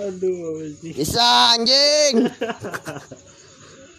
Aduh anjing. Bisa anjing.